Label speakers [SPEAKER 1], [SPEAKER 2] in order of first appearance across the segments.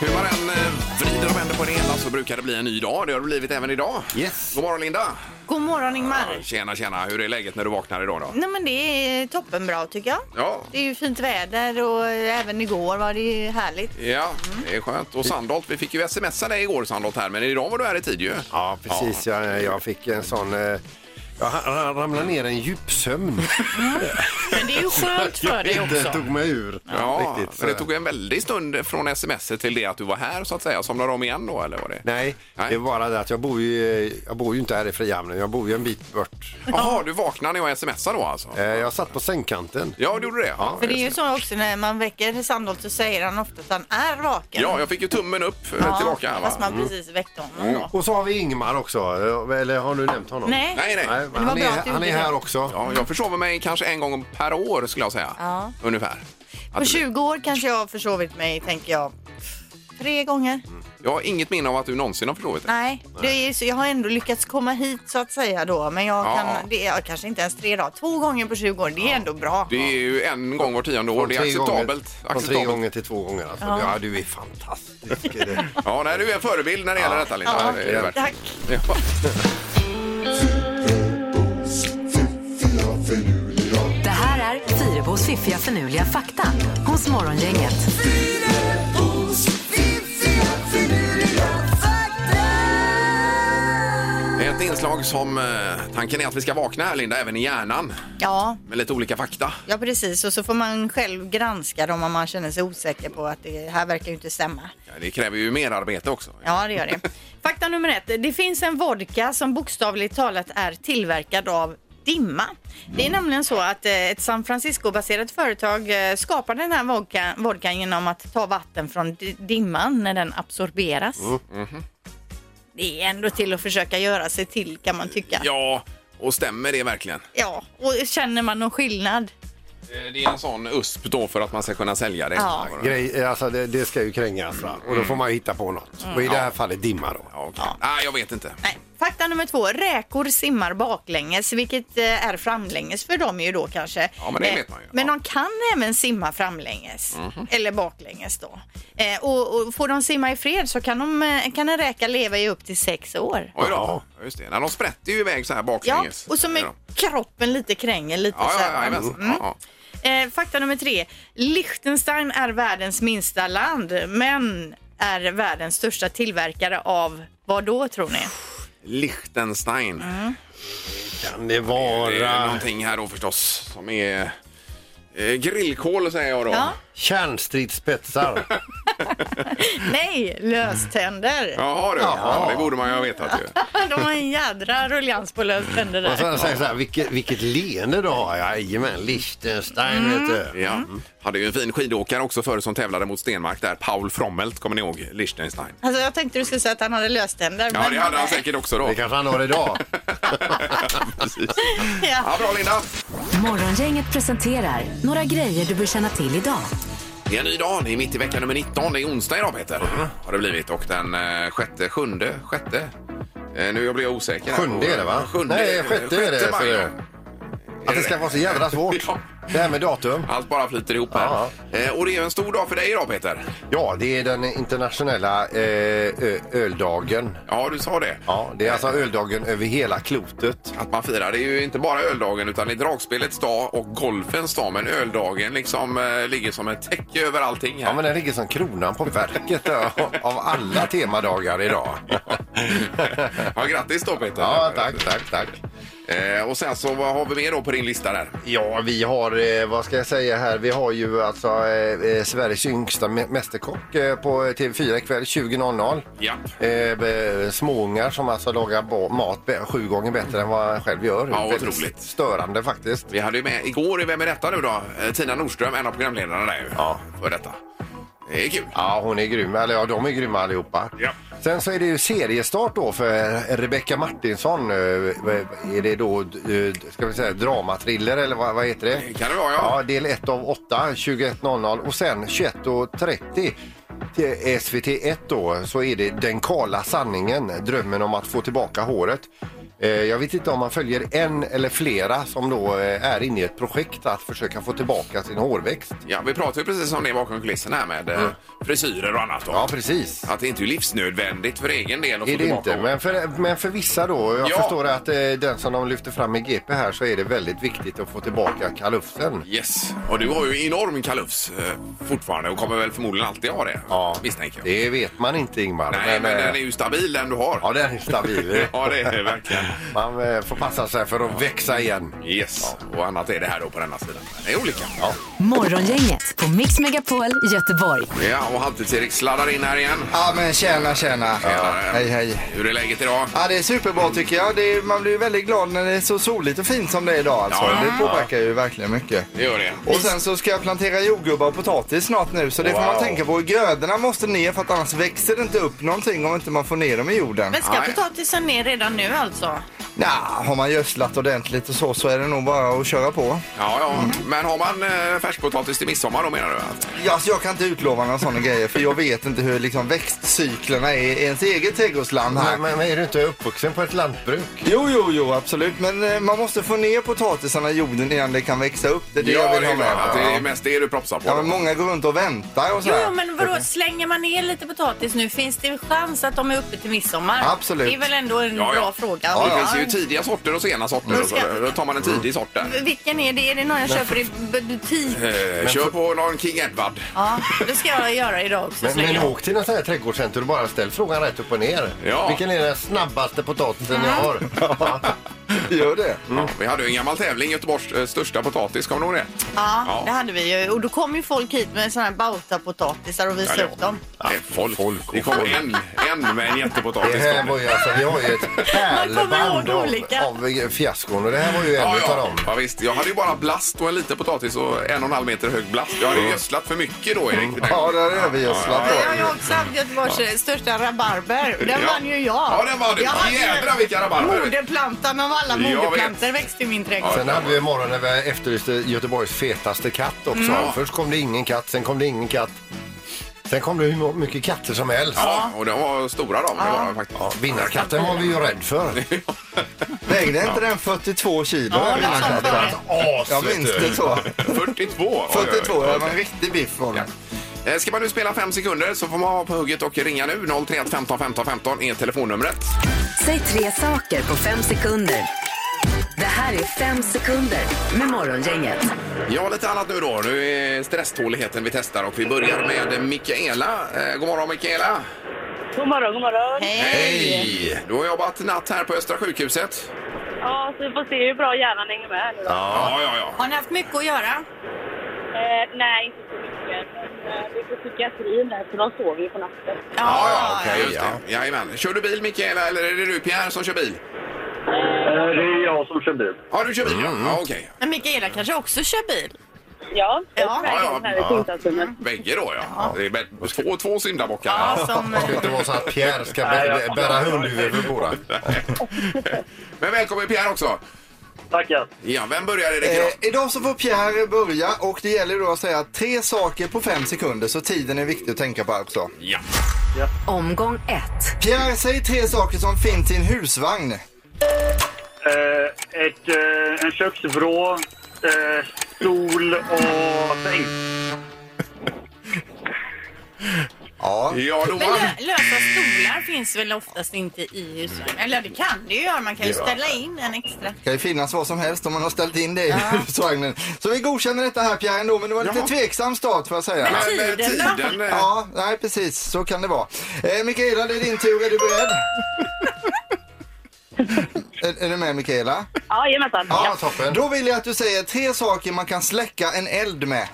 [SPEAKER 1] Hur man än eh, vrider och vänder på det hela så brukar det bli en ny dag. Det har det blivit även idag.
[SPEAKER 2] Yes.
[SPEAKER 1] God morgon Linda!
[SPEAKER 3] God morgon Ingmar.
[SPEAKER 1] Tjena, tjena. Hur är läget när du vaknar idag då?
[SPEAKER 3] Nej men det är toppenbra tycker jag.
[SPEAKER 1] Ja.
[SPEAKER 3] Det är ju fint väder och även igår var det ju härligt.
[SPEAKER 1] Ja, det är skönt. Och Sandholt, vi fick ju smsa dig igår Sandholt här, men idag var du här i tid ju.
[SPEAKER 2] Ja, precis. Jag, jag fick en sån... eh, Jag ha- ha- ramlade ner i en djupsömn.
[SPEAKER 3] Men det är ju skönt för dig
[SPEAKER 2] Det
[SPEAKER 3] också.
[SPEAKER 2] tog mig ur.
[SPEAKER 1] Ja,
[SPEAKER 2] riktigt.
[SPEAKER 1] men det tog en väldig stund från sms till det att du var här så att säga. Somnade du om igen då eller var det?
[SPEAKER 2] Nej,
[SPEAKER 1] Nej.
[SPEAKER 2] det är bara det att jag bor ju, eh, jag bor ju inte här i Frihamnen. Jag bor ju en bit bort.
[SPEAKER 1] Jaha, du vaknade när jag smsade då alltså?
[SPEAKER 2] Eh, Jag satt på sängkanten.
[SPEAKER 1] Ja, du gjorde det? Ja,
[SPEAKER 3] För det är ju
[SPEAKER 1] just
[SPEAKER 3] så också när man väcker Sandholt så säger han ofta att han är
[SPEAKER 1] det.
[SPEAKER 3] vaken.
[SPEAKER 1] ja jag fick ju tummen upp eh, tillbaka här
[SPEAKER 3] Fast
[SPEAKER 1] va?
[SPEAKER 3] man precis väckte honom då.
[SPEAKER 2] Och så har vi Ingmar också. Eh, Eller har du nämnt honom?
[SPEAKER 3] Nej.
[SPEAKER 1] Nej, nej.
[SPEAKER 2] Nej,
[SPEAKER 3] det var
[SPEAKER 2] han,
[SPEAKER 3] bra att
[SPEAKER 2] är,
[SPEAKER 3] du
[SPEAKER 2] han är
[SPEAKER 3] gjorde
[SPEAKER 2] här
[SPEAKER 3] det.
[SPEAKER 2] också.
[SPEAKER 1] Ja, jag försover mig kanske en gång per år skulle jag säga.
[SPEAKER 3] Ja.
[SPEAKER 1] Ungefär. Att
[SPEAKER 3] På
[SPEAKER 1] det blir-
[SPEAKER 3] 20 år kanske jag har försovit mig tänker jag. Tre gånger?
[SPEAKER 1] Jag har inget minne av att du någonsin har försovit dig.
[SPEAKER 3] Nej, det är, så jag har ändå lyckats komma hit så att säga då. Men jag
[SPEAKER 1] Ja.
[SPEAKER 3] kan, det är kanske inte ens tre dagar. Två gånger på 20 år, det är ändå bra.
[SPEAKER 1] Det är ju en gång var tionde år.
[SPEAKER 2] Från
[SPEAKER 1] Det är
[SPEAKER 2] tre
[SPEAKER 1] acceptabelt.
[SPEAKER 2] Gånger, från tre
[SPEAKER 1] acceptabelt.
[SPEAKER 2] gånger till två gånger. Alltså. Ja. du är fantastisk. Är det?
[SPEAKER 1] Ja, nej, du är en förebild när det gäller detta, Linda. Det är det verkligen.
[SPEAKER 3] Tack.
[SPEAKER 1] Ja.
[SPEAKER 4] Det här är Fyrebos fiffiga förnuliga fakta hos Morgongänget.
[SPEAKER 1] Ett inslag som eh, tanken är att vi ska vakna här, Linda, även i hjärnan
[SPEAKER 3] Ja,
[SPEAKER 1] med lite olika fakta.
[SPEAKER 3] Ja precis och så får man själv granska dem om man känner sig osäker på att det här verkar ju inte stämma.
[SPEAKER 1] Ja, Det kräver ju mer arbete också.
[SPEAKER 3] Ja det gör det. Fakta nummer ett. Det finns en vodka som bokstavligt talat är tillverkad av dimma. Det är nämligen så att eh, ett San Francisco-baserat företag eh, skapar den här vodka, vodkan genom att ta vatten från di- dimman när den absorberas. Det är ändå till att försöka göra sig till kan man tycka.
[SPEAKER 1] Ja, och stämmer det verkligen?
[SPEAKER 3] ja och känner man någon skillnad?
[SPEAKER 1] Eh, Det är en sån USP då för att man ska kunna sälja det.
[SPEAKER 3] Ja.
[SPEAKER 2] Grej, alltså, det, det ska ju krängas. Va? Och då får man ju hitta på något. Och i det här fallet dimma då.
[SPEAKER 1] Mm. Ja, okej. Ah, jag vet inte.
[SPEAKER 3] Nej. Fakta nummer två. Räkor simmar baklänges, vilket eh, är framlänges för dem ju då kanske.
[SPEAKER 1] Ja, men det
[SPEAKER 3] Eh,
[SPEAKER 1] vet man ju.
[SPEAKER 3] Men
[SPEAKER 1] Ja. Mhm.
[SPEAKER 3] de kan även simma framlänges, eller baklänges då. Eh, Och, och får de simma i fred så kan, de, eh, kan en räka leva i upp till sex år.
[SPEAKER 1] Oj då. Ja, Just det. Nej, de sprätter ju iväg så här
[SPEAKER 3] Ja,
[SPEAKER 1] baklänges.
[SPEAKER 3] och så med
[SPEAKER 1] Ja,
[SPEAKER 3] kroppen lite kränger lite
[SPEAKER 1] ja,
[SPEAKER 3] så här.
[SPEAKER 1] ja, ja,
[SPEAKER 3] Mm.
[SPEAKER 1] ja.
[SPEAKER 3] Eh, fakta nummer tre. Liechtenstein är världens minsta land, men är världens största tillverkare av vad då tror ni?
[SPEAKER 1] Mm. Liechtenstein.
[SPEAKER 2] Kan det
[SPEAKER 1] Det är
[SPEAKER 2] vara
[SPEAKER 1] någonting här då förstås som är eh, grillkål säger jag då.
[SPEAKER 3] Ja.
[SPEAKER 2] kärnstridsspetsar?
[SPEAKER 3] Nej, löständer.
[SPEAKER 1] Jaha du, ja, det borde man ju ha vetat ju.
[SPEAKER 3] De har en jädra rullians på löständer
[SPEAKER 2] Och
[SPEAKER 3] där.
[SPEAKER 2] sen säger jag så här, vilket, vilket leende du har. Jajamän, Liechtenstein vet du.
[SPEAKER 1] Ja. Hade ju en fin skidåkare också förr som tävlade mot Stenmark där, Paul Frommelt, kommer ni ihåg? Liechtenstein.
[SPEAKER 3] Alltså jag tänkte du skulle säga att han hade löständer.
[SPEAKER 1] Ja,
[SPEAKER 3] men-
[SPEAKER 1] det hade han säkert också då.
[SPEAKER 2] Det kanske han har idag.
[SPEAKER 1] Precis.
[SPEAKER 3] Ja.
[SPEAKER 1] Ja, bra Linda!
[SPEAKER 4] Morgongänget presenterar några grejer du bör känna till idag.
[SPEAKER 1] Det är en ny dag, det är mitt i vecka nummer 19, det är onsdag idag Peter.
[SPEAKER 2] Mm.
[SPEAKER 1] Har det blivit och den eh, sjätte, sjunde, sjätte? Eh, nu jag blir jag osäker. här.
[SPEAKER 2] Sjunde är det va?
[SPEAKER 1] Sjunde,
[SPEAKER 2] Nej, sjätte är det.
[SPEAKER 1] sjätte maj,
[SPEAKER 2] så är
[SPEAKER 1] ja.
[SPEAKER 2] det. Att det ska vara så jävla svårt.
[SPEAKER 1] Ja.
[SPEAKER 2] Det här med datum.
[SPEAKER 1] Allt bara flyter ihop här.
[SPEAKER 2] Ja,
[SPEAKER 1] Eh, och det är en stor dag för dig idag Peter.
[SPEAKER 2] Ja, det är den internationella eh, ö- öldagen.
[SPEAKER 1] Ja, du sa det.
[SPEAKER 2] Ja, det är alltså öldagen över hela klotet.
[SPEAKER 1] Att man firar, det är ju inte bara öldagen utan det är dragspelets dag och golfens dag. Men öldagen liksom eh, ligger som ett täcke över allting här.
[SPEAKER 2] Ja, men den ligger som kronan på verket eh, av alla temadagar idag.
[SPEAKER 1] Ja, grattis då Peter.
[SPEAKER 2] Ja, tack, tack, tack.
[SPEAKER 1] Eh, och sen så vad har vi mer då på din lista där?
[SPEAKER 2] Ja, vi har, eh, vad ska jag säga här, vi har ju alltså eh, eh, Sveriges yngsta mä- mästerkock eh, på TV4 ikväll 20.00.
[SPEAKER 1] Ja.
[SPEAKER 2] Eh, be- småungar som alltså lagar ba- mat be- sju gånger bättre än vad han själv gör.
[SPEAKER 1] Ja,
[SPEAKER 2] Väldigt
[SPEAKER 1] otroligt.
[SPEAKER 2] Störande faktiskt.
[SPEAKER 1] Vi hade ju med igår i Vem är detta nu då? Eh, Tina Nordström, en av programledarna där ju.
[SPEAKER 2] Ja.
[SPEAKER 1] För detta. Det är kul.
[SPEAKER 2] Ja, hon är grym. Eller ja, de är grymma allihopa.
[SPEAKER 1] Ja.
[SPEAKER 2] Sen så är det ju seriestart då för eh, Rebecca Martinsson. Eh, Är det då, eh, ska vi säga dramatriller eller vad, vad heter det?
[SPEAKER 1] Det kan det vara, ja.
[SPEAKER 2] Ja, del 1 av 8, 21.00 och sen 21.30 till SVT1 då så är det Den kala sanningen, drömmen om att få tillbaka håret. Eh, Jag vet inte om man följer en eller flera som då eh, är inne i ett projekt att försöka få tillbaka sin hårväxt.
[SPEAKER 1] Ja, vi pratade ju precis om det bakom kulisserna här med mm. frisyrer och annat. Då.
[SPEAKER 2] Ja, precis.
[SPEAKER 1] Att det inte är livsnödvändigt för egen del att
[SPEAKER 2] Är
[SPEAKER 1] få
[SPEAKER 2] det
[SPEAKER 1] tillbaka
[SPEAKER 2] inte, men för, men för vissa då. Jag
[SPEAKER 1] Ja.
[SPEAKER 2] förstår att eh, den som de lyfter fram i GP här så är det väldigt viktigt att få tillbaka kalufsen.
[SPEAKER 1] Yes, och du har ju enorm kalufs eh, fortfarande och kommer väl förmodligen alltid ha det. misstänker jag.
[SPEAKER 2] Det vet man inte Ingmar.
[SPEAKER 1] Nej, men,
[SPEAKER 2] eh,
[SPEAKER 1] den är ju stabil den du har.
[SPEAKER 2] Ja, den är stabil.
[SPEAKER 1] Ja, det är det verkligen.
[SPEAKER 2] Man eh, får passa sig för att växa igen.
[SPEAKER 1] Yes, och annat är det här då på denna sidan. Men Det är olika. Ja,
[SPEAKER 4] Morgongänget på Mix Megapol Göteborg.
[SPEAKER 1] och Halvtids-Erik sladdar in här igen.
[SPEAKER 5] Ja men tjena tjena.
[SPEAKER 1] Tjenare.
[SPEAKER 5] Hej hej.
[SPEAKER 1] Hur är läget idag?
[SPEAKER 5] Ja det är superbra tycker jag. Det är, man blir ju väldigt glad när det är så soligt och fint som det är idag alltså.
[SPEAKER 1] Ja.
[SPEAKER 5] Det påverkar ju verkligen mycket.
[SPEAKER 1] Det gör det.
[SPEAKER 5] Och sen så ska jag plantera jordgubbar och potatis snart nu så det får man
[SPEAKER 1] Wow.
[SPEAKER 5] tänka på. Grödorna måste ner för att annars växer det inte upp någonting om inte man får ner dem i jorden.
[SPEAKER 3] Men ska
[SPEAKER 1] Nej.
[SPEAKER 3] potatisen ner redan nu alltså?
[SPEAKER 5] Nja, har man gödslat ordentligt och så så är det nog bara att köra på.
[SPEAKER 1] Ja, ja. Men har man eh, färskpotatis till midsommar då menar du? Att...
[SPEAKER 5] Ja, alltså, jag kan inte utlova några sådana grejer för jag vet inte hur liksom, växtcyklerna är i ens eget trädgårdsland här.
[SPEAKER 2] Men, men men är du inte uppvuxen på ett lantbruk?
[SPEAKER 5] Jo, jo, jo, absolut. Men eh, man måste få ner potatisarna i jorden innan det kan växa upp. Det är det
[SPEAKER 1] ja,
[SPEAKER 5] jag vill
[SPEAKER 1] det är
[SPEAKER 5] ha med.
[SPEAKER 1] klart att det är mest det du propsar på.
[SPEAKER 5] Ja,
[SPEAKER 1] då.
[SPEAKER 5] men många går runt och väntar och så
[SPEAKER 3] Jo,
[SPEAKER 5] här.
[SPEAKER 3] jo, men vadå, slänger man ner lite potatis nu, finns det chans att de är uppe till midsommar?
[SPEAKER 5] Absolut.
[SPEAKER 3] Det är väl ändå en
[SPEAKER 1] Ja, ja.
[SPEAKER 3] bra fråga.
[SPEAKER 1] Ja, det finns ju tidiga sorter och sena sorter. Och så. Då tar man en tidig sort där.
[SPEAKER 3] Vilken är det? Är det någon jag köper i b- butik?
[SPEAKER 1] Eh, kör på någon King Edward.
[SPEAKER 3] Ja, det ska jag göra idag också.
[SPEAKER 2] Men,
[SPEAKER 3] så länge.
[SPEAKER 2] men åk till något sånt här trädgårdscenter och bara ställ frågan rätt upp och ner.
[SPEAKER 1] Ja.
[SPEAKER 2] Vilken är den snabbaste potatisen jag har? Ja.
[SPEAKER 5] Gör det.
[SPEAKER 1] Ja, Mm. vi hade ju en gammal tävling, Göteborgs eh, största potatis, kommer du ihåg det?
[SPEAKER 3] ja,
[SPEAKER 1] Ja.
[SPEAKER 3] det hade vi ju. Och då kom ju folk hit med såna här bautapotatisar och visade
[SPEAKER 1] Ja,
[SPEAKER 3] upp dem.
[SPEAKER 1] Ja, det är folk. det kom en, en med en
[SPEAKER 2] Det
[SPEAKER 1] jättepotatis.
[SPEAKER 2] här var ju alltså, vi har ju ett pärlband
[SPEAKER 3] ihåg
[SPEAKER 2] av,
[SPEAKER 3] olika.
[SPEAKER 2] av fiaskon och det här var ju en
[SPEAKER 1] Ja,
[SPEAKER 2] utav
[SPEAKER 1] ja.
[SPEAKER 2] dem.
[SPEAKER 1] ja, visst. Jag hade ju bara blast och en liten potatis och en och en halv meter hög blast. Jag hade ju gödslat för mycket då, Erik.
[SPEAKER 5] Ja, där är vi
[SPEAKER 3] Ja,
[SPEAKER 5] gödslat
[SPEAKER 3] Jag har
[SPEAKER 5] då.
[SPEAKER 3] ju också haft Göteborgs största rabarber. Den
[SPEAKER 1] Ja.
[SPEAKER 3] vann ju jag.
[SPEAKER 1] Ja, den vann du.
[SPEAKER 3] Jag vann ju
[SPEAKER 1] Jädrar, vilka rabarber.
[SPEAKER 3] Moderplantan av alla
[SPEAKER 1] Jag vet.
[SPEAKER 3] moderplantor växte i min trädgård.
[SPEAKER 2] Sen hade vi en morgon när vi efterlyste Göteborgs fetaste katt också. Först kom det ingen katt, sen kom det ingen katt. Sen kom det hur mycket katter som helst.
[SPEAKER 1] Ja, och de var stora de. Det var de faktiskt.
[SPEAKER 2] Ja, vinnarkatten var vi ju rädd för.
[SPEAKER 5] Vägde inte den 42 kilo?
[SPEAKER 3] Ja,
[SPEAKER 5] den
[SPEAKER 3] det är
[SPEAKER 5] här
[SPEAKER 3] sant.
[SPEAKER 5] katten?
[SPEAKER 2] As!
[SPEAKER 5] jag minns det så.
[SPEAKER 1] 42.
[SPEAKER 5] 42,
[SPEAKER 1] Oj, oj,
[SPEAKER 5] det
[SPEAKER 1] oj.
[SPEAKER 5] var en riktig biff var
[SPEAKER 1] Ja.
[SPEAKER 5] den.
[SPEAKER 1] Eh, Ska man nu spela fem sekunder så får man vara på hugget och ringa nu. 031 15 15 15 är telefonnumret.
[SPEAKER 4] Säg tre saker på fem sekunder. Det här är fem sekunder med Morgongänget.
[SPEAKER 1] Ja, lite annat nu då. Nu är stresståligheten vi testar och vi börjar med Mikaela. Eh, god morgon Mikaela!
[SPEAKER 6] God morgon, god morgon.
[SPEAKER 1] Hej! Du har jobbat natt här på Östra sjukhuset.
[SPEAKER 6] Ja, så vi får se hur bra hjärnan hänger med här nu då.
[SPEAKER 1] Ja, ja, ja.
[SPEAKER 3] Har ni haft mycket att göra?
[SPEAKER 6] Eh, nej, inte så mycket. Men, eh, vi är på psykiatrin där, så de sover ju på natten.
[SPEAKER 1] Ja, ja, okej, just det. Jajamän. Kör du bil Mikaela eller är det du Pierre som kör
[SPEAKER 7] Eh,
[SPEAKER 1] bil?
[SPEAKER 7] Det är jag som kör bil.
[SPEAKER 1] Ja, du kör bil ja. ja okej.
[SPEAKER 3] Men Mikaela kanske också kör bil?
[SPEAKER 6] Ja,
[SPEAKER 3] Ja,
[SPEAKER 1] ja, ja.
[SPEAKER 6] ja.
[SPEAKER 1] Bägge då ja. Det är bä- två, två syndabockar.
[SPEAKER 3] Ja, som...
[SPEAKER 2] Det ska inte vara så att Pierre ska bä- bä- bära hundhuvud för båda.
[SPEAKER 1] Men välkommen Pierre också.
[SPEAKER 7] Tackar.
[SPEAKER 1] Ja, vem börjar Erik idag?
[SPEAKER 5] Eh, idag så får Pierre börja och det gäller då att säga tre saker på fem sekunder så tiden är viktig att tänka på också.
[SPEAKER 1] Ja.
[SPEAKER 4] Omgång ett.
[SPEAKER 5] Pierre, säg tre saker som finns i en husvagn.
[SPEAKER 7] Eh, ett, eh, en köksvrå, eh, stol och säng.
[SPEAKER 5] Ja,
[SPEAKER 1] Ja, då
[SPEAKER 3] Men
[SPEAKER 1] vann.
[SPEAKER 3] eh, lö- lösa stolar finns väl oftast inte i husvagn? Eller det kan det ju göra. Man kan ju ställa in en extra.
[SPEAKER 5] kan ju finnas vad som helst om man har ställt in det i husvagnen. Så vi godkänner detta här Pierre ändå, men det var lite
[SPEAKER 1] Jaha.
[SPEAKER 5] tveksam start får jag säga.
[SPEAKER 3] Men-
[SPEAKER 1] Nej, men
[SPEAKER 3] Tiden,
[SPEAKER 1] tiden. eh,
[SPEAKER 5] Ja, nej precis, så kan det vara. Eh, Mikaela, det är din tur. Är du beredd? är, är du med Mikaela?
[SPEAKER 6] ja jajamensan. Ja.
[SPEAKER 2] Ja, toppen.
[SPEAKER 5] Då vill jag att du säger tre saker man kan släcka en eld med.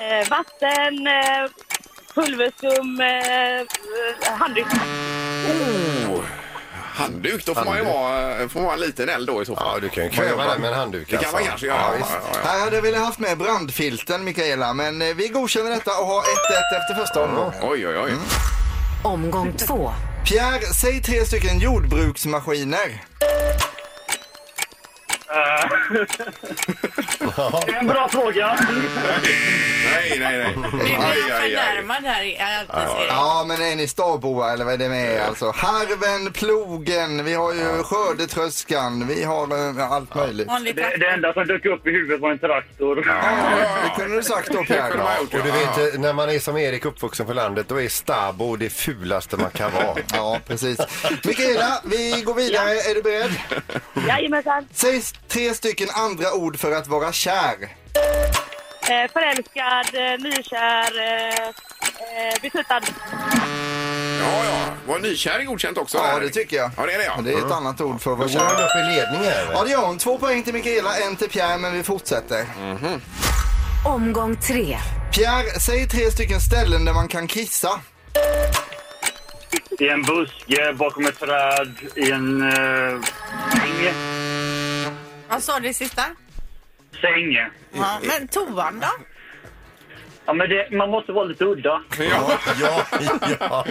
[SPEAKER 6] Eh, vatten, eh, pulverskum, eh, eh, handduk.
[SPEAKER 1] oh, Handduk, då får man ju
[SPEAKER 2] Handduk.
[SPEAKER 1] vara, eh, får man vara en liten eld då i så fall.
[SPEAKER 2] Ja, du kan ju kväva den med en handduk.
[SPEAKER 1] Det
[SPEAKER 5] alltså.
[SPEAKER 1] kan man kanske göra.
[SPEAKER 2] Ja,
[SPEAKER 1] Ja,
[SPEAKER 2] visst.
[SPEAKER 1] ja, ja.
[SPEAKER 5] Här hade jag velat haft med brandfilten, Mikaela, men eh, vi godkänner detta och har 1-1 efter första omgången.
[SPEAKER 1] Oj, oj, oj.
[SPEAKER 4] Omgång två.
[SPEAKER 5] Pierre, säg tre stycken jordbruksmaskiner.
[SPEAKER 7] En bra fråga.
[SPEAKER 1] Nej, nej, nej.
[SPEAKER 3] Nu blir
[SPEAKER 1] Aj,
[SPEAKER 3] jag
[SPEAKER 1] aj, aj.
[SPEAKER 3] förnärmad här. i- alltid, Erik.
[SPEAKER 5] Ja, men är ni starboa eller vad är det med er? alltså? Harven, plogen, vi har ju skördetröskan, vi har eh, allt möjligt.
[SPEAKER 3] Vanligt
[SPEAKER 7] Det,
[SPEAKER 3] tack.
[SPEAKER 7] det enda som dök upp i huvudet var en traktor.
[SPEAKER 5] Det kunde du sagt då
[SPEAKER 1] Det kunde
[SPEAKER 5] Pierre.
[SPEAKER 1] man ha gjort,
[SPEAKER 2] Och du
[SPEAKER 1] ja.
[SPEAKER 2] vet, eh, när man är som Erik uppvuxen på landet, då är stabo det fulaste man kan vara.
[SPEAKER 5] Ja, precis. Mikaela, vi går vidare. Är du beredd?
[SPEAKER 6] Jajamensan.
[SPEAKER 5] Säg s- tre stycken andra ord för att vara kär.
[SPEAKER 6] Eh, förälskad, eh, nykär, eh, eh, betuttad.
[SPEAKER 1] Ja, ja. Var nykärring godkänt också?
[SPEAKER 5] Ja,
[SPEAKER 1] Erik?
[SPEAKER 5] det tycker jag.
[SPEAKER 1] Ja, det är det, ja.
[SPEAKER 5] Det är ett annat ord för att
[SPEAKER 2] Då
[SPEAKER 5] vara
[SPEAKER 2] går han
[SPEAKER 5] kär.
[SPEAKER 2] upp i ledning här.
[SPEAKER 5] Ja, det gör hon. Två poäng till Mikaela, en till Pierre, men vi fortsätter.
[SPEAKER 4] Omgång tre.
[SPEAKER 5] Pierre, säg tre stycken ställen där man kan kissa.
[SPEAKER 7] I en buske, bakom ett träd, i en eh, säng.
[SPEAKER 3] Vad sa du sista?
[SPEAKER 7] säng.
[SPEAKER 3] Ja, men toan då?
[SPEAKER 7] Ja, men det, man måste vara lite udda.
[SPEAKER 1] Ja.
[SPEAKER 2] Ja, ja,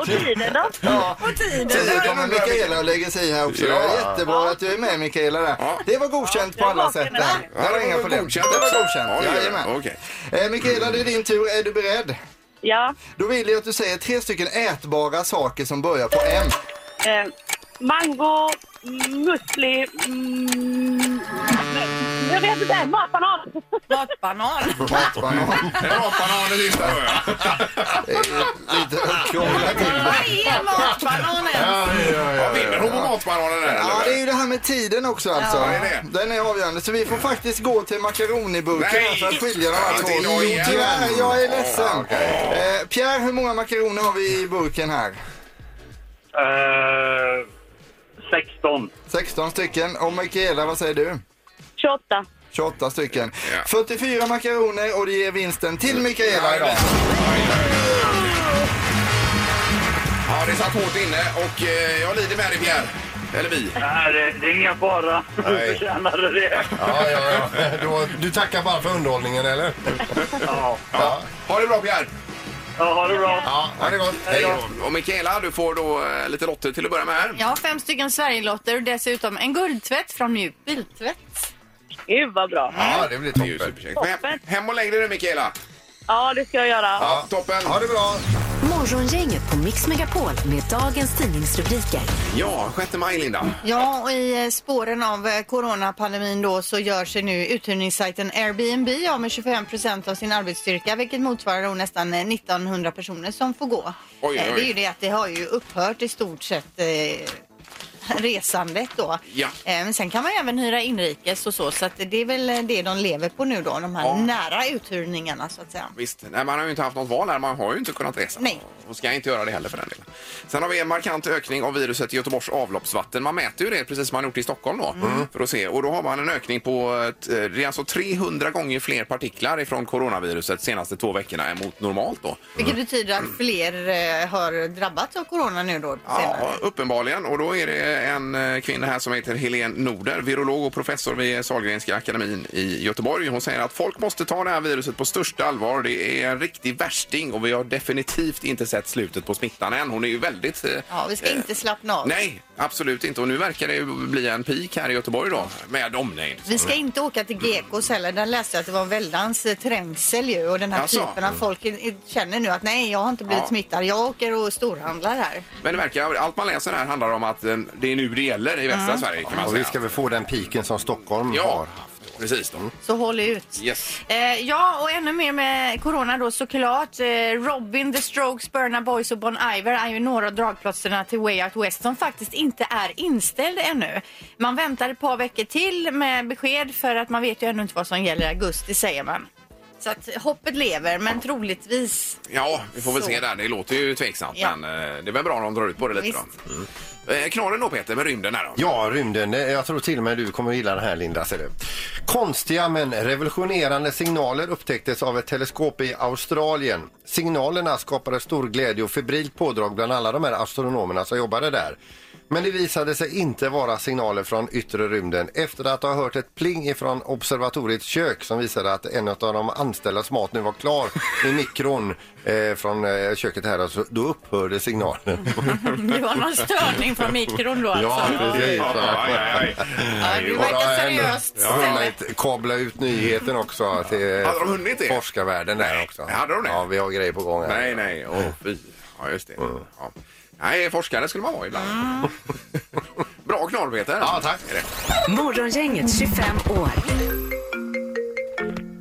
[SPEAKER 6] Och tiden då?
[SPEAKER 3] Och tiden?
[SPEAKER 5] Tio
[SPEAKER 3] då?
[SPEAKER 5] kommer Mikaela och lägger sig i här också.
[SPEAKER 1] Ja.
[SPEAKER 5] Jättebra att du är med Mikaela där.
[SPEAKER 1] Ja.
[SPEAKER 5] Det var godkänt
[SPEAKER 6] Ja,
[SPEAKER 5] på
[SPEAKER 6] jag
[SPEAKER 5] alla
[SPEAKER 6] vaknar
[SPEAKER 5] sätt
[SPEAKER 6] där.
[SPEAKER 5] där. Det var inga problem.
[SPEAKER 1] godkänt
[SPEAKER 5] Det var
[SPEAKER 1] också.
[SPEAKER 5] godkänt.
[SPEAKER 1] Oj, oj, oj.
[SPEAKER 5] Jajamän.
[SPEAKER 1] Okej.
[SPEAKER 5] Eh, Mikaela, det är din tur. Är du beredd?
[SPEAKER 6] Ja.
[SPEAKER 5] Då vill jag att du säger tre stycken ätbara saker som börjar på M.
[SPEAKER 6] Eh, mango, müsli... Mm, jag vet inte, matbanan.
[SPEAKER 3] Matbanan?
[SPEAKER 5] Matbanan.
[SPEAKER 1] Rapanan är sista då, ja.
[SPEAKER 5] Lite krångla till det.
[SPEAKER 3] Vad är matbanan ens?
[SPEAKER 1] Vad vinner hon på matbananen där,
[SPEAKER 5] Ja, det är
[SPEAKER 1] eller?
[SPEAKER 5] ju det här med tiden också alltså.
[SPEAKER 1] det är det.
[SPEAKER 5] Den är avgörande. Så vi får faktiskt gå till makaroniburken
[SPEAKER 1] Nej!
[SPEAKER 5] här för att skilja de
[SPEAKER 1] Ja,
[SPEAKER 5] här två.
[SPEAKER 1] det är jag igen.
[SPEAKER 5] tyvärr, jag är ledsen.
[SPEAKER 1] Ja, okej.
[SPEAKER 5] Eh, Pierre, hur många makaroner har vi i burken här?
[SPEAKER 7] Eh, 16.
[SPEAKER 5] 16 stycken. Och Mikaela, vad säger du?
[SPEAKER 6] 28.
[SPEAKER 5] 28 stycken.
[SPEAKER 1] Ja.
[SPEAKER 5] 44 makaroner och det ger vinsten till Mikaela idag.
[SPEAKER 1] Ja, det satt hårt inne och eh, jag lider med dig, Pierre. Eller vi.
[SPEAKER 7] Nej, det, det är ingen fara. Du
[SPEAKER 2] Nej.
[SPEAKER 7] förtjänade det.
[SPEAKER 2] ja, ja, ja. Då, du tackar bara för underhållningen, eller?
[SPEAKER 7] Ja.
[SPEAKER 1] Ja. Ha det bra, Pierre.
[SPEAKER 7] Ja, ha det bra.
[SPEAKER 2] Ja, ha det gott. Hej då.
[SPEAKER 1] Och Mikaela, du får då eh, lite lotter till att börja med här.
[SPEAKER 3] Jag har fem stycken Sverigelotter och dessutom en guldtvätt från Mjuk Biltvätt.
[SPEAKER 6] Gud vad bra.
[SPEAKER 2] Ja, det blir
[SPEAKER 1] Det är ju
[SPEAKER 2] toppen.
[SPEAKER 1] superkäckt. Men Hem, hem och lägg dig nu, Mikaela.
[SPEAKER 6] Ja, det ska jag göra.
[SPEAKER 1] Ja, toppen.
[SPEAKER 2] Ha det bra.
[SPEAKER 4] Morgongänget på Mix Megapol med dagens tidningsrubriker.
[SPEAKER 1] Ja, 6 maj, Linda.
[SPEAKER 3] Ja, och i eh, spåren av eh, coronapandemin då så gör sig nu uthyrningssajten Airbnb av med 25 procent av sin arbetsstyrka, vilket motsvarar då nästan eh, 1900 personer som får gå.
[SPEAKER 1] oj,
[SPEAKER 3] Eh,
[SPEAKER 1] oj.
[SPEAKER 3] Det är ju det att det har ju upphört i stort sett eh, resandet då.
[SPEAKER 1] Ja.
[SPEAKER 3] Eh, Men sen kan man ju även hyra inrikes och så, så att det är väl eh, det de lever på nu då, de här
[SPEAKER 1] Ja.
[SPEAKER 3] nära uthyrningarna så att säga.
[SPEAKER 1] Visst, nej, man har ju inte haft något val här. Man har ju inte kunnat resa.
[SPEAKER 3] Nej.
[SPEAKER 1] Och ska inte göra det heller för den delen. Sen har vi en markant ökning av viruset i Göteborgs avloppsvatten. Man mäter ju det precis som man gjort i Stockholm då.
[SPEAKER 2] Mm.
[SPEAKER 1] Mm. För att se. Och då har man en ökning på, eh, det är alltså 300 gånger fler partiklar ifrån coronaviruset senaste två veckorna än mot normalt då.
[SPEAKER 3] Vilket betyder att fler eh, har drabbats av corona nu då senare.
[SPEAKER 1] Ja, uppenbarligen. Och då är det en eh, kvinna här som heter Helene Norder, virolog och professor vid Sahlgrenska akademin i Göteborg. Hon säger att folk måste ta det här viruset på största allvar. Det är en riktig värsting och vi har definitivt inte sett slutet på smittan än. Hon är ju väldigt... eh,
[SPEAKER 3] Ja, vi ska inte slappna av.
[SPEAKER 1] Nej, absolut inte. Och nu verkar det ju bli en peak här i Göteborg då, med omnejd.
[SPEAKER 3] Vi ska inte åka till Gekås heller. Där läste jag att det var en väldans eh, trängsel ju. Och den här
[SPEAKER 1] Jaså? Mm.
[SPEAKER 3] typen av folk i- i- känner nu att nej, jag har inte blivit
[SPEAKER 1] Ja.
[SPEAKER 3] smittad. Jag åker och storhandlar här.
[SPEAKER 1] Men det verkar, allt man läser här handlar om att eh, det är nu det gäller i västra
[SPEAKER 3] Mm.
[SPEAKER 1] Sverige kan man
[SPEAKER 2] Och vi
[SPEAKER 1] säga.
[SPEAKER 2] ska väl få den piken som Stockholm
[SPEAKER 1] Ja,
[SPEAKER 2] har.
[SPEAKER 1] precis då.
[SPEAKER 3] Så håll ut.
[SPEAKER 1] Yes.
[SPEAKER 3] Eh, ja, och ännu mer med corona då såklart. Eh, Robin, The Strokes, Burna Boys och Bon Iver är ju några av dragplåsterna till Way Out West som faktiskt inte är inställd ännu. Man väntar ett par veckor till med besked för att man vet ju ännu inte vad som gäller i augusti säger man. Så att hoppet lever, men troligtvis
[SPEAKER 1] Ja, vi får väl
[SPEAKER 3] Så.
[SPEAKER 1] se där. Det låter ju tveksamt,
[SPEAKER 3] Ja.
[SPEAKER 1] men eh, det är väl bra om de drar ut på det lite
[SPEAKER 3] Visst.
[SPEAKER 1] då. Mm. Eh, Knorren då Peter, med rymden här då.
[SPEAKER 2] Ja, rymden. Eh, Jag tror till och med du kommer att gilla den här Linda. Ser du. Konstiga men revolutionerande signaler upptäcktes av ett teleskop i Australien. Signalerna skapade stor glädje och febrilt pådrag bland alla de här astronomerna som jobbade där. Men det visade sig inte vara signaler från yttre rymden efter att ha hört ett pling ifrån observatoriets kök som visade att en av de anställdas mat nu var klar i mikron eh, från eh, köket här. och Så då upphörde signalen.
[SPEAKER 3] Det var någon störning från mikron då alltså.
[SPEAKER 2] precis.
[SPEAKER 1] Ja, ja, ja.
[SPEAKER 3] Ja, det
[SPEAKER 2] Och då har
[SPEAKER 3] verkar
[SPEAKER 2] jag ändå
[SPEAKER 3] seriöst.
[SPEAKER 2] hunnit kabla ut nyheten också till
[SPEAKER 1] Hade de hunnit det?
[SPEAKER 2] forskarvärlden där också.
[SPEAKER 1] hade de det?
[SPEAKER 2] Ja, vi har grejer på gång här.
[SPEAKER 1] Nej, nej. Åh, fy. Ja, just det. Ja. Nej, forskare skulle man vara ibland. Bra knorr, Peter. Mm. Ja, tack. Är det.
[SPEAKER 4] Morgongänget 25 år.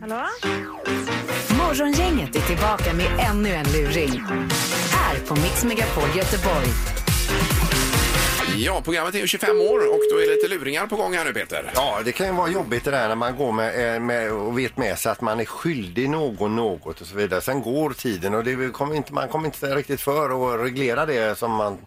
[SPEAKER 6] Hallå?
[SPEAKER 4] Morgongänget är tillbaka med ännu en luring. Här på Mix Megapol Göteborg.
[SPEAKER 1] Ja, programmet är ju 25 år och då är det lite luringar på gång här nu, Peter.
[SPEAKER 2] Ja, det kan ju vara jobbigt det där när man går med, eh, med och vet med sig att man är skyldig någon något och så vidare. Sen går tiden och det kommer inte, man kommer inte riktigt för att reglera det som man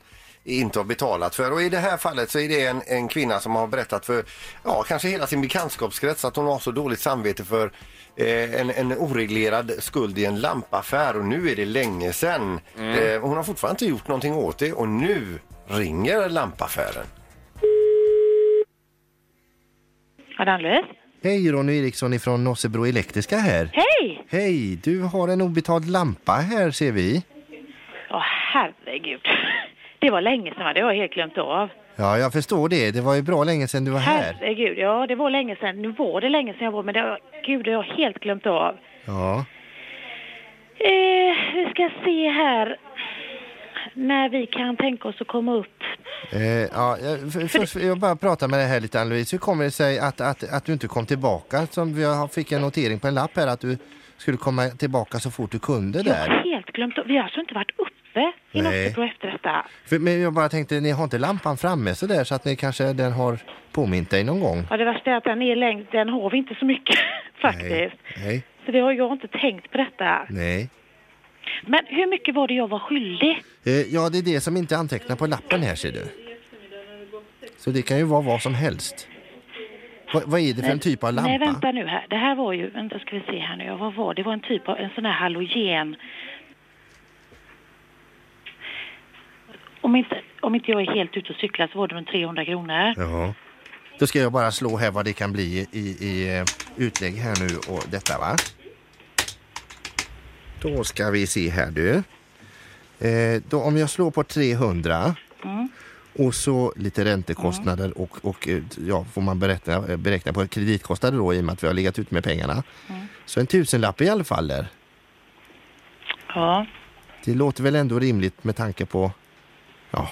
[SPEAKER 2] inte har betalat för. Och i det här fallet så är det en, en kvinna som har berättat för, ja, kanske hela sin bekantskapskrets att hon har så dåligt samvete för eh, en, en oreglerad skuld i en lampaffär och nu är det länge sedan. Eh, hon har fortfarande inte gjort någonting åt det och nu ringer lampaffären.
[SPEAKER 6] Har det Louise?
[SPEAKER 8] Hej, Ronny Eriksson ifrån Nossebro Elektriska här.
[SPEAKER 6] Hej!
[SPEAKER 8] Hej, du har en obetald lampa här ser vi.
[SPEAKER 6] Åh, herregud. Det var länge sedan, va? det har jag helt glömt av.
[SPEAKER 8] Ja, jag förstår det. Det var ju bra länge sedan du var här.
[SPEAKER 6] Herregud, ja det var länge sedan. Nu var det länge sedan jag var, men det har, gud, det har jag helt glömt av.
[SPEAKER 8] Ja,
[SPEAKER 6] Eh, vi ska se här när vi kan tänka oss att komma upp.
[SPEAKER 8] eh, ja jag- för, först, jag bara pratar med dig här lite Ann-Louise. Hur kommer det sig att, att, att du inte kom tillbaka? Som jag har- fick en notering på en lapp här att du skulle komma tillbaka så fort du kunde
[SPEAKER 6] Jag har
[SPEAKER 8] där.
[SPEAKER 6] helt glömt av. Vi har alltså inte varit uppe i
[SPEAKER 8] Nej.
[SPEAKER 6] Nossebro efter detta.
[SPEAKER 8] För, men jag bara tänkte, ni har inte lampan framme så där så att ni kanske den har påmint dig någon gång?
[SPEAKER 6] Ja, det värsta är att den är längst, den har vi inte så mycket faktiskt.
[SPEAKER 8] Nej,
[SPEAKER 6] Så det har jag inte tänkt på detta.
[SPEAKER 8] nej.
[SPEAKER 6] Men hur mycket var det jag var skyldig?
[SPEAKER 8] Eh, ja, det är det som inte är antecknat på lappen här ser du. Så det kan ju vara vad som helst. Va, vad är det för en typ av lampa?
[SPEAKER 6] Nej, vänta nu här. Det här var ju, vänta ska vi se här nu, Ja, vad var det? Det var en typ av, en sån här halogen. Om inte, om inte jag är helt ute och cyklar så var det runt 300 kronor.
[SPEAKER 8] Ja. Då ska jag bara slå här vad det kan bli i, i eh, utlägg här nu och detta va. Då ska vi se här du. Eh, då, om jag slår på 300 och så lite räntekostnader och, och eh, ja, får man beräkna, eh, beräkna på kreditkostnader då i och med att vi har legat ut med pengarna. Så en tusenlapp i alla fall där.
[SPEAKER 6] Ja.
[SPEAKER 8] Det låter väl ändå rimligt med tanke på... Ja.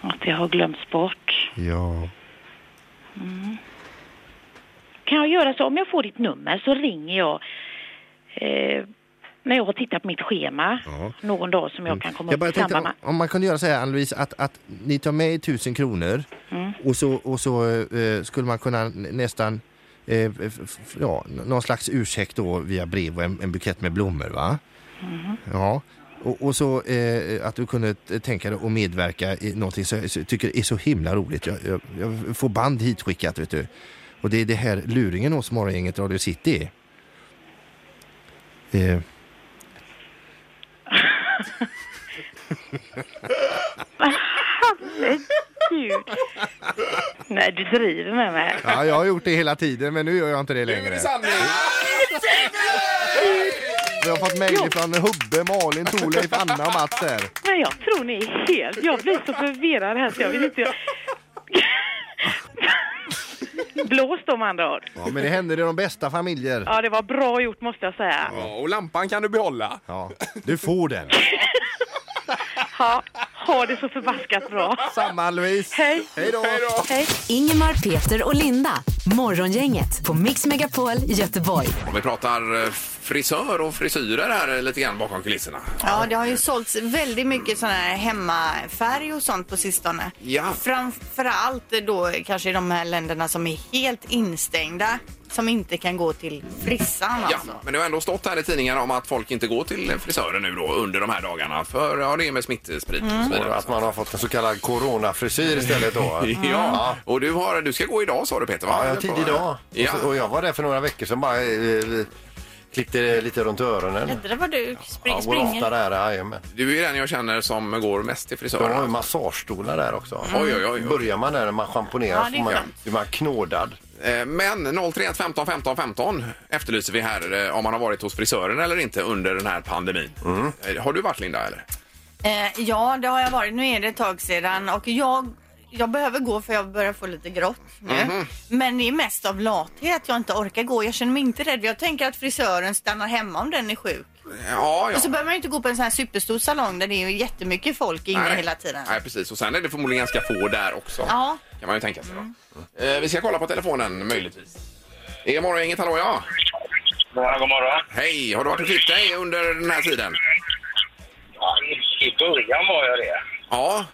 [SPEAKER 6] Att det har glömts bort.
[SPEAKER 8] Ja.
[SPEAKER 6] Kan jag göra så? Om jag får ditt nummer så ringer jag eh, när jag har tittat på mitt schema
[SPEAKER 8] Ja. Mm.
[SPEAKER 6] någon dag som jag kan komma
[SPEAKER 8] Jag bara
[SPEAKER 6] upp i
[SPEAKER 8] tänkte
[SPEAKER 6] samband
[SPEAKER 8] om,
[SPEAKER 6] med.
[SPEAKER 8] om man kunde göra så här Ann-Louise att, att ni tar med er tusen kronor och så, och så eh, skulle man kunna n- nästan eh, f- f- ja, n- någon slags ursäkt då via brev och en, en bukett med blommor va? Ja. Och, och så eh, att du kunde t- tänka dig att medverka i någonting som jag tycker är så himla roligt. Jag, jag, jag får band hitskickat vet du. Och det är det här luringen hos Morgongänget Radio City. Eh,
[SPEAKER 6] Gud. Nej, du driver med mig.
[SPEAKER 8] ja, jag har gjort det hela tiden men nu gör jag inte det längre. Ah, Vi har fått mejl från Hubbe, Malin, Torleif, Anna och Mats här.
[SPEAKER 6] Men jag tror ni är helt... Jag blir så förvirrad här så jag vet inte... Blåst om andra ord.
[SPEAKER 8] Ja, men det händer i de bästa familjer.
[SPEAKER 6] Ja, det var bra gjort måste jag säga.
[SPEAKER 1] Ja, och lampan kan du behålla.
[SPEAKER 8] Ja, du får den.
[SPEAKER 6] Ha, ha det så förbaskat bra.
[SPEAKER 8] Samma Louise.
[SPEAKER 6] Hej!
[SPEAKER 8] Hej då.
[SPEAKER 6] Hej!
[SPEAKER 4] Ingemar, Peter och Linda. Morgongänget på Mix Megapol Göteborg.
[SPEAKER 1] Om vi pratar eh, frisör och frisyrer här eh, lite grann bakom kulisserna.
[SPEAKER 3] Ja, det har ju sålts väldigt mycket sån här hemmafärg och sånt på sistone.
[SPEAKER 1] Ja.
[SPEAKER 3] Framförallt då kanske i de här länderna som är helt instängda. Som inte kan gå till frissan
[SPEAKER 1] Ja,
[SPEAKER 3] alltså.
[SPEAKER 1] men det har ändå stått här i tidningarna om att folk inte går till frisören nu då under de här dagarna för ja, det är med smittspridning och så
[SPEAKER 2] Mm. Och
[SPEAKER 1] vidare.
[SPEAKER 2] att man har fått en så kallad coronafrisyr istället då.
[SPEAKER 1] Ja, och du, har, du ska gå idag sa du Peter va?
[SPEAKER 2] Ja, jag har tid idag. Och,
[SPEAKER 1] Ja.
[SPEAKER 2] så, och jag var där för några veckor sedan bara eh, Klippte lite runt öronen.
[SPEAKER 3] Jädrar vad du spring,
[SPEAKER 2] Ja, går ofta
[SPEAKER 3] springer.
[SPEAKER 2] där, jajamän.
[SPEAKER 1] Du är ju den jag känner som går mest till
[SPEAKER 2] De har
[SPEAKER 1] frisören.
[SPEAKER 2] ju massagestolar där också.
[SPEAKER 1] Mm. Oj, oj, oj, oj.
[SPEAKER 2] Börjar man där när man
[SPEAKER 3] Ja,
[SPEAKER 2] schamponerar
[SPEAKER 3] det är
[SPEAKER 2] får man,
[SPEAKER 3] skönt.
[SPEAKER 2] blir man knådad.
[SPEAKER 1] Eh, Men 031 15 15 15 efterlyser vi här eh, om man har varit hos frisören eller inte under den här pandemin. Eh, Har du varit Linda eller?
[SPEAKER 3] Eh, ja, det har jag varit. Nu är det ett tag sedan och jag, jag behöver gå för jag börjar få lite grått nu.
[SPEAKER 1] Mhm.
[SPEAKER 3] Men det är mest av lathet jag inte orkar gå. Jag känner mig inte rädd. Jag tänker att frisören stannar hemma om den är sjuk.
[SPEAKER 1] Ja, ja.
[SPEAKER 3] Och så behöver man ju inte gå på en sån här superstor salong där det är ju jättemycket folk inne hela tiden.
[SPEAKER 1] Nej, precis. Och sen är det förmodligen ganska få där också.
[SPEAKER 3] Ja. Mm.
[SPEAKER 1] Kan man ju tänka sig. Då. Eh, Vi ska kolla på telefonen möjligtvis. Det är morgongänget, hallå ja.
[SPEAKER 7] God morgon, god morgon.
[SPEAKER 1] Hej, har du varit och klippt dig under den här tiden?
[SPEAKER 7] Ja, i- I början var jag det.
[SPEAKER 1] Ja,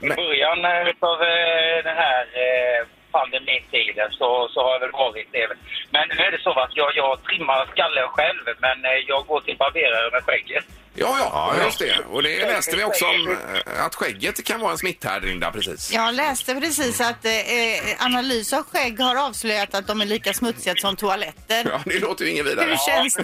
[SPEAKER 7] I början eh, av eh, den här eh, pandemitiden så, så har jag väl varit det. Men nu är det så att jag, jag trimmar skallen själv, men eh, jag går till barberare med skägget.
[SPEAKER 1] ja, ja,
[SPEAKER 2] Ja, ja.
[SPEAKER 1] just det. Och det läste vi också om eh, att skägget kan vara en smitthärd, Linda, precis.
[SPEAKER 3] Jag läste precis att eh, analys av skägg har avslöjat att de är lika smutsiga som toaletter.
[SPEAKER 1] Ja, det låter ju inget
[SPEAKER 3] Hur
[SPEAKER 1] vidare.
[SPEAKER 3] känns det?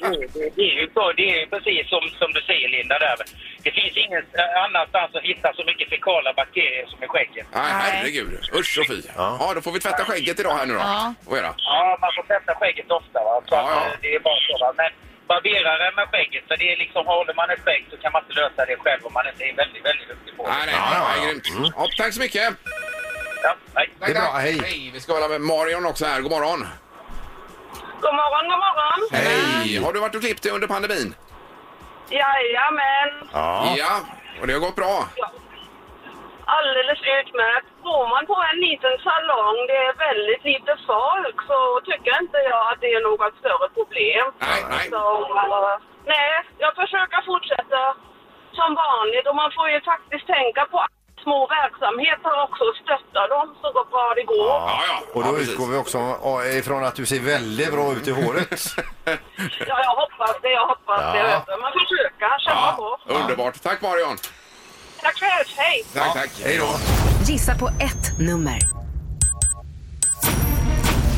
[SPEAKER 7] Det, det, det är ju så, det är ju precis som, som du säger, Linda. Där. Det finns ingen eh, annanstans att hitta så mycket fekala bakterier som i skägget.
[SPEAKER 1] Nej,
[SPEAKER 3] Nej.
[SPEAKER 1] herregud. Usch och fy. Ja.
[SPEAKER 2] Ja.
[SPEAKER 1] då får vi tvätta skägget idag här nu då.
[SPEAKER 3] Ja.
[SPEAKER 1] Och göra.
[SPEAKER 7] Ja, man får tvätta skägget ofta. Va? Så
[SPEAKER 1] Ja,
[SPEAKER 7] att,
[SPEAKER 1] ja.
[SPEAKER 7] eh, Det är bara så. Va? Men barberare med skägget, för det är liksom, håller man ett skägg så kan man inte lösa det själv om man inte är väldigt, väldigt duktig på det.
[SPEAKER 1] Nej, nej,
[SPEAKER 2] Ja, ja,
[SPEAKER 1] nej,
[SPEAKER 2] ja.
[SPEAKER 1] grymt. Ja, tack så mycket.
[SPEAKER 7] Ja, nej.
[SPEAKER 1] Tack,
[SPEAKER 2] bra,
[SPEAKER 1] tack.
[SPEAKER 2] hej.
[SPEAKER 1] Vi ska hålla med Marion också här. God morgon.
[SPEAKER 6] God morgon, god morgon.
[SPEAKER 1] Hej! Har du varit och klippt dig under pandemin?
[SPEAKER 6] Jajamän.
[SPEAKER 2] Ja.
[SPEAKER 1] ja. Och det har gått bra?
[SPEAKER 6] Alldeles utmärkt. Bor man på en liten salong, det är väldigt lite folk, så tycker inte jag att det är något större problem.
[SPEAKER 1] Nej, nej.
[SPEAKER 6] Så, eh, nej, jag försöker fortsätta som vanligt och man får ju faktiskt tänka på att små verksamheter också och stötta dem så gott bra det går.
[SPEAKER 1] Ja, ja.
[SPEAKER 2] Och
[SPEAKER 1] ja,
[SPEAKER 2] då
[SPEAKER 1] precis.
[SPEAKER 2] utgår vi också ja, ifrån att du ser väldigt bra ut i håret.
[SPEAKER 6] Ja, jag hoppas det, jag hoppas det.
[SPEAKER 2] Ja.
[SPEAKER 6] vet du. Man försöker kämpa på.
[SPEAKER 1] Ja, underbart. Tack Marion.
[SPEAKER 6] Tack själv, hej!
[SPEAKER 1] Tack, tack. Hej då.
[SPEAKER 4] Gissa på ett nummer.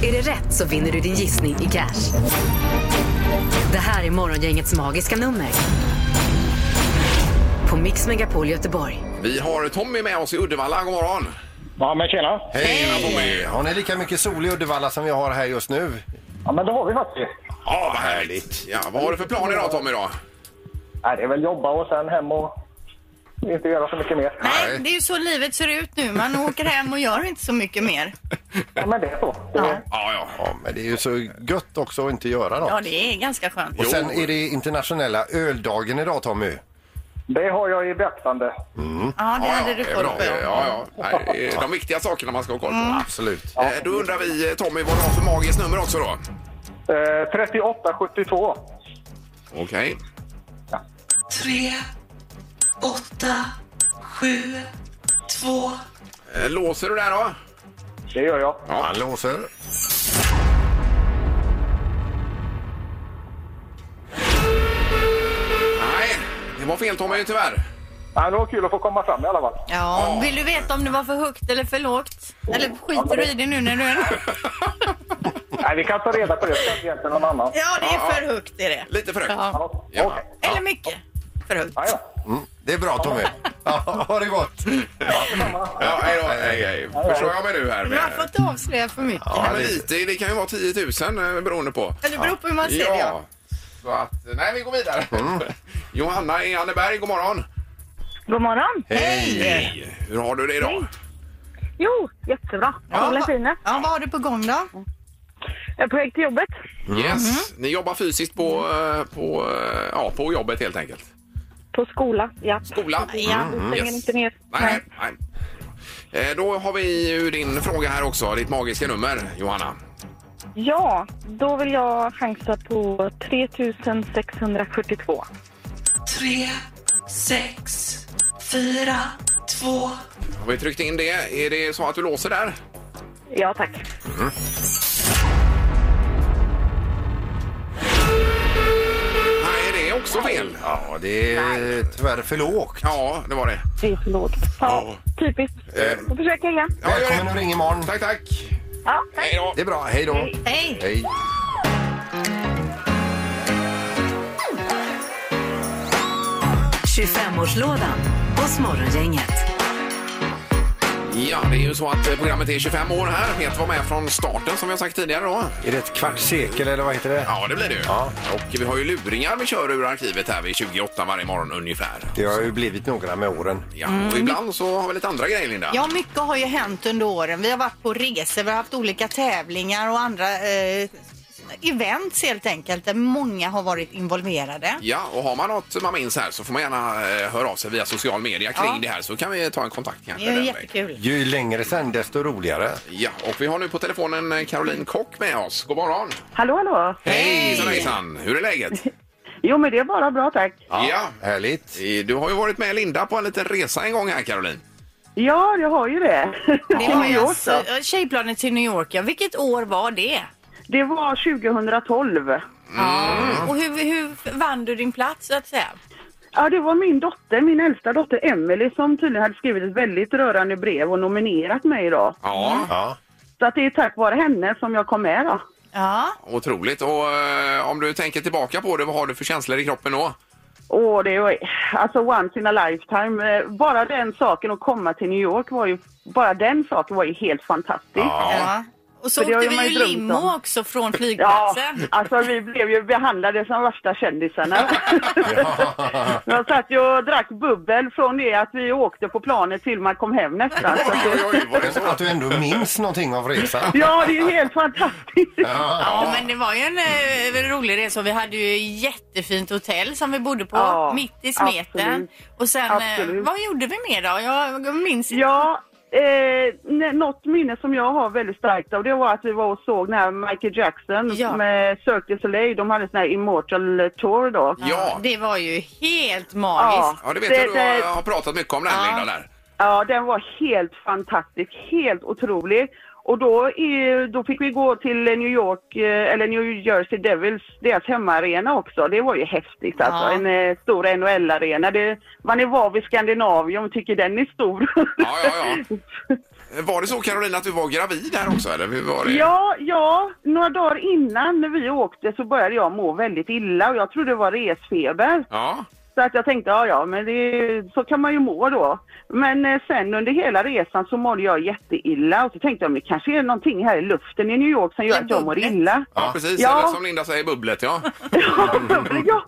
[SPEAKER 4] Är det rätt så vinner du din gissning i cash. Det här är Morgongängets magiska nummer. På Mix Megapol Göteborg.
[SPEAKER 1] Vi har Tommy med oss i Uddevalla. God morgon.
[SPEAKER 7] Ja, men tjena.
[SPEAKER 1] Hej! Tommy.
[SPEAKER 2] Har ni lika mycket sol i Uddevalla som vi har här just nu?
[SPEAKER 7] Ja, men det har vi faktiskt.
[SPEAKER 1] Ja, vad härligt. Ja, vad har du för plan idag Tommy då?
[SPEAKER 7] Nej, det är väl jobba och sen hem och inte göra så mycket mer.
[SPEAKER 3] Nej, det är ju så livet ser ut nu. Man åker hem och gör inte så mycket mer.
[SPEAKER 7] Ja, men det är så.
[SPEAKER 3] Ja,
[SPEAKER 1] Ja, ja.
[SPEAKER 2] Ja, men det är ju så gött också att inte göra
[SPEAKER 3] ja
[SPEAKER 2] något.
[SPEAKER 3] det är ganska skönt.
[SPEAKER 2] Och sen är det internationella öldagen idag Tommy.
[SPEAKER 7] Det har jag i beaktande.
[SPEAKER 3] Ja, det
[SPEAKER 1] Ja,
[SPEAKER 3] hade
[SPEAKER 1] ja,
[SPEAKER 3] du
[SPEAKER 1] det är
[SPEAKER 3] koll
[SPEAKER 1] bra.
[SPEAKER 3] på. ja. Mm.
[SPEAKER 1] Ja, ja. Nej, det är de viktiga sakerna man ska ha koll på.
[SPEAKER 2] Absolut.
[SPEAKER 1] Eh, Då undrar vi eh, Tommy vad du har för magiskt nummer också då?
[SPEAKER 7] Eh, 3872.
[SPEAKER 1] Okej.
[SPEAKER 9] Tre, åtta, sju, två.
[SPEAKER 1] Eh, Låser du där då?
[SPEAKER 7] Det gör jag.
[SPEAKER 2] Ja, han låser.
[SPEAKER 1] Nej, det var fel Tommy tyvärr.
[SPEAKER 7] Ja, det var kul att få komma fram i alla fall.
[SPEAKER 3] Vill du veta om det var för högt eller för lågt? Eller skiter du i det nu när du är...
[SPEAKER 7] Nej, vi kan ta reda på det. Det är egentligen någon annan.
[SPEAKER 3] Ja, det är för högt är det.
[SPEAKER 1] Lite för högt.
[SPEAKER 3] Ja.
[SPEAKER 1] Ja.
[SPEAKER 7] Okej.
[SPEAKER 3] Eller mycket för högt.
[SPEAKER 7] Ja, ja.
[SPEAKER 2] Mm, det är bra Tommy. Ja, ha det gott.
[SPEAKER 1] Ja, hej då. Hej, hej. Förstår jag mig nu här?
[SPEAKER 3] Man får
[SPEAKER 1] Med...
[SPEAKER 3] inte avslöja för mycket.
[SPEAKER 1] Ja, men lite. Det kan ju vara 10 000 eh, beroende på.
[SPEAKER 3] Eller det beror på hur man ser det.
[SPEAKER 1] Ja. Så att, eh, nej, vi går vidare.
[SPEAKER 2] Mm.
[SPEAKER 1] Johanna i Anneberg, god morgon.
[SPEAKER 6] God morgon!
[SPEAKER 2] Hej!
[SPEAKER 1] Hej. Hur har du det idag?
[SPEAKER 6] Jo, jättebra. Solen skiner.
[SPEAKER 3] Ja, vad har du på gång då?
[SPEAKER 6] Jag är på väg till jobbet.
[SPEAKER 2] Mm.
[SPEAKER 1] Yes. Ni jobbar fysiskt på, eh, på, eh, ja, på jobbet helt enkelt.
[SPEAKER 6] På skola, ja.
[SPEAKER 1] Skola?
[SPEAKER 3] Ja.
[SPEAKER 6] Mm, Stänger
[SPEAKER 1] yes.
[SPEAKER 6] inte ner.
[SPEAKER 1] Nej, nej. nej. Eh, Då har vi ju din fråga här också, ditt magiska nummer, Johanna.
[SPEAKER 6] Ja, då vill jag chansa på 3642.
[SPEAKER 9] Tre, sex, fyra, två.
[SPEAKER 1] Har vi tryckt in det? Är det så att du låser där?
[SPEAKER 6] Ja, tack.
[SPEAKER 1] Nej, det är också fel.
[SPEAKER 2] Ja, det är tyvärr för lågt.
[SPEAKER 1] Ja, det var det.
[SPEAKER 6] Det är för lågt. Ja, typiskt.
[SPEAKER 1] Eh.
[SPEAKER 6] Får försöka igen.
[SPEAKER 1] Ja, gör det.
[SPEAKER 2] Välkommen och ring imorgon.
[SPEAKER 1] Tack, tack.
[SPEAKER 6] Ja, tack.
[SPEAKER 1] Hej då.
[SPEAKER 2] Det är bra. Hej då.
[SPEAKER 3] Hej!
[SPEAKER 2] Hej.
[SPEAKER 4] 25-årslådan hos Morgongänget.
[SPEAKER 1] Ja, det är ju så att eh, programmet är 25 år här. Peter var med från starten som vi har sagt tidigare då.
[SPEAKER 2] Är det ett kvartssekel eller vad heter det?
[SPEAKER 1] Ja, det blir det ju. Och vi har ju luringar vi kör ur arkivet här vid 28 varje morgon ungefär.
[SPEAKER 2] Det har ju blivit några med åren.
[SPEAKER 1] Ja, och ibland så har vi lite andra grejer Linda.
[SPEAKER 3] Mm. Ja, mycket har ju hänt under åren. Vi har varit på resor, vi har haft olika tävlingar och andra eh, events helt enkelt där många har varit involverade.
[SPEAKER 1] Ja, och har man något man minns här så får man gärna eh, höra av sig via social media kring det här så kan vi ta en kontakt kanske.
[SPEAKER 3] Det är
[SPEAKER 1] den
[SPEAKER 3] jättekul.
[SPEAKER 2] Ju längre sen desto roligare.
[SPEAKER 1] Ja, och vi har nu på telefonen eh, Caroline Kock med oss. God morgon!
[SPEAKER 10] Hallå, hallå!
[SPEAKER 1] Hejsan hejsan! Hur är läget?
[SPEAKER 10] Jo, men det är bara bra, tack.
[SPEAKER 1] Ja, härligt. Du har ju varit med Linda på en liten resa en gång här Caroline.
[SPEAKER 10] Ja, jag har ju det.
[SPEAKER 3] Det var ju alltså, ja, Tjejplanet till New York, ja. Vilket år var det?
[SPEAKER 10] Det var 2012. Mm.
[SPEAKER 3] Ja. Och hur, hur vann du din plats så att säga?
[SPEAKER 10] Ja, det var min dotter, min äldsta dotter Emily som tydligen hade skrivit ett väldigt rörande brev och nominerat mig idag.
[SPEAKER 1] Ja.
[SPEAKER 2] ja.
[SPEAKER 10] Så att det är tack vare henne som jag kom med då.
[SPEAKER 3] Ja.
[SPEAKER 1] Otroligt. Och eh, om du tänker tillbaka på det, vad har du för känslor i kroppen då?
[SPEAKER 10] Åh, det var alltså once in a lifetime. Eh, Bara den saken att komma till New York var ju, bara den saken var ju helt fantastisk.
[SPEAKER 3] Ja. Och så
[SPEAKER 10] För det har
[SPEAKER 3] åkte
[SPEAKER 10] man
[SPEAKER 3] vi ju
[SPEAKER 10] drömt
[SPEAKER 3] limo
[SPEAKER 10] om.
[SPEAKER 3] också från
[SPEAKER 10] Ja,
[SPEAKER 3] flygplatsen.
[SPEAKER 10] alltså vi blev ju behandlade som värsta kändisarna. Jag satt ju och drack bubbel från det att vi åkte på planet till man kom hem nästan. Så att det,
[SPEAKER 2] Att du ändå minns någonting av resan.
[SPEAKER 10] ja, det är ju helt fantastiskt.
[SPEAKER 3] Ja, men det var ju en eh, rolig resa och vi hade ju ett jättefint hotell som vi bodde på
[SPEAKER 10] Ja,
[SPEAKER 3] mitt i smeten.
[SPEAKER 10] absolut.
[SPEAKER 3] Och sen, eh,
[SPEAKER 10] Absolut.
[SPEAKER 3] vad gjorde vi mer då? Jag minns inte.
[SPEAKER 10] Ja, eh, n- något minne som jag har väldigt starkt av det var att vi var och såg när Michael Jackson
[SPEAKER 3] Ja.
[SPEAKER 10] med Cirque du Soleil, de hade sån här Immortal Tour då.
[SPEAKER 1] Ja.
[SPEAKER 3] Det var ju helt magiskt.
[SPEAKER 1] Ja, det vet
[SPEAKER 10] Det-
[SPEAKER 1] jag. Du
[SPEAKER 10] det-
[SPEAKER 1] har, har pratat mycket om den här Linda där.
[SPEAKER 10] Ja, den var helt fantastisk, helt otrolig. Och då, i, då fick vi gå till New York, eh, eller New Jersey Devils, deras hemmaarena också. Det var ju häftigt alltså.
[SPEAKER 3] Ja.
[SPEAKER 10] En eh, stor NHL-arena. Det, man är van vid Skandinavien och tycker den är stor.
[SPEAKER 1] Ja, ja, ja. Var det så Caroline att du var gravid här också eller hur var det?
[SPEAKER 10] Ja, ja, några dagar innan när vi åkte så började jag må väldigt illa och jag trodde det var resfeber.
[SPEAKER 1] Ja.
[SPEAKER 10] Så att jag tänkte, ja ja, men det, så kan man ju må då. Men eh, sen under hela resan så mådde jag jätteilla och så tänkte jag, men det kanske är någonting här i luften i New York som gör att jag mår illa.
[SPEAKER 1] Ja, precis.
[SPEAKER 10] Ja.
[SPEAKER 1] Eller som Linda säger, bubblet ja.
[SPEAKER 10] ja.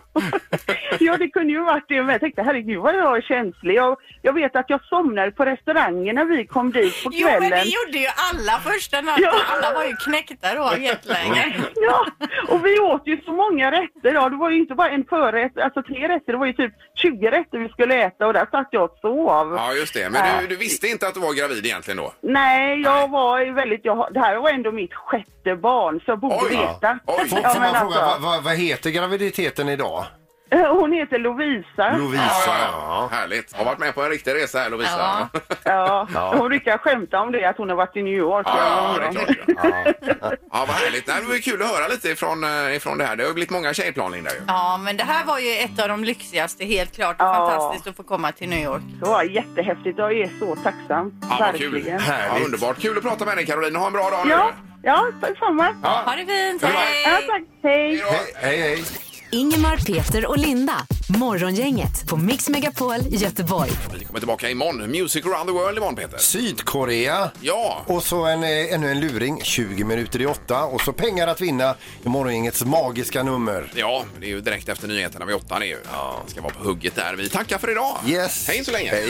[SPEAKER 10] ja, det kunde ju varit det. Men jag tänkte, herregud vad jag är känslig. Jag, jag vet att jag somnade på restaurangen när vi kom dit på
[SPEAKER 3] Jo,
[SPEAKER 10] kvällen.
[SPEAKER 3] men det gjorde ju alla första natten.
[SPEAKER 10] Ja. Mm.
[SPEAKER 3] Alla var ju knäckta då av jetlagen.
[SPEAKER 10] Ja, och vi åt ju så många rätter. Ja, det var ju inte bara en förrätt, alltså tre rätter. Det var ju typ 20 rätter vi skulle äta och där satt jag och sov.
[SPEAKER 1] Ja, just det. Men du, du visste inte att du var gravid egentligen då?
[SPEAKER 10] Nej, jag var ju väldigt... Jag, har- det här var ändå mitt sjätte barn, så jag borde
[SPEAKER 1] Oj.
[SPEAKER 10] veta.
[SPEAKER 1] Oj.
[SPEAKER 2] Får,
[SPEAKER 10] Ja,
[SPEAKER 2] får
[SPEAKER 10] men
[SPEAKER 2] man fråga, vad,
[SPEAKER 10] alltså,
[SPEAKER 2] vad, vad heter graviditeten idag?
[SPEAKER 10] hon heter Lovisa.
[SPEAKER 2] Lovisa.
[SPEAKER 1] ja. Härligt. Har varit med på en riktig resa här Lovisa. Ja,
[SPEAKER 10] Ja,
[SPEAKER 2] Ja.
[SPEAKER 10] Hon brukar skämta om det, att hon har varit i New York.
[SPEAKER 1] ja, det är klart. Ja. ja, vad härligt. Nej, Det var ju kul att höra lite ifrån, eh, ifrån det här. Det har ju blivit många tjejplan Linda ju.
[SPEAKER 3] Ja, men det här var ju ett av de lyxigaste, helt klart. Och
[SPEAKER 10] Ja.
[SPEAKER 3] Fantastiskt att få komma till New York.
[SPEAKER 10] Det var jättehäftigt. Jag är så tacksam.
[SPEAKER 1] Ja, vad kul.
[SPEAKER 10] Verkligen.
[SPEAKER 1] Ja, underbart. Kul att prata med dig Caroline. Ha en bra dag nu.
[SPEAKER 10] Ja, ja, detsamma.
[SPEAKER 3] Ha det fint!
[SPEAKER 1] Ja.
[SPEAKER 10] Ja,
[SPEAKER 3] Hej!
[SPEAKER 10] tack. Hej.
[SPEAKER 2] Hej, hej, hej.
[SPEAKER 4] Ingemar, Peter och Linda. Morgongänget på Mix Megapol Göteborg.
[SPEAKER 1] Vi kommer tillbaka imorgon. Music around the world imorgon Peter.
[SPEAKER 2] Sydkorea.
[SPEAKER 1] Ja.
[SPEAKER 2] Och så en, eh, ännu en luring, 20 minuter i åtta. Och så pengar att vinna i morgongängets magiska nummer.
[SPEAKER 1] Ja, det är ju direkt efter nyheterna vid åtta. Det är ju. Man Ska vara på hugget där. Vi tackar för idag.
[SPEAKER 2] Yes.
[SPEAKER 1] Hej så länge.
[SPEAKER 2] Hej.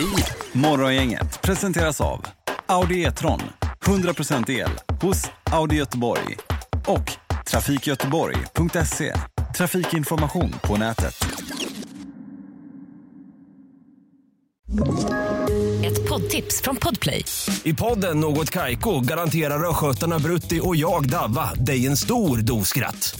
[SPEAKER 11] Morgongänget presenteras av Audi E-tron. 100% el hos Audi Göteborg. Och trafikgöteborg.se. Trafikinformation på nätet.
[SPEAKER 4] Ett poddtips från Podplay.
[SPEAKER 12] I podden Något Kaiko garanterar östgötarna Brutti och jag, Davva, dig en stor dos skratt.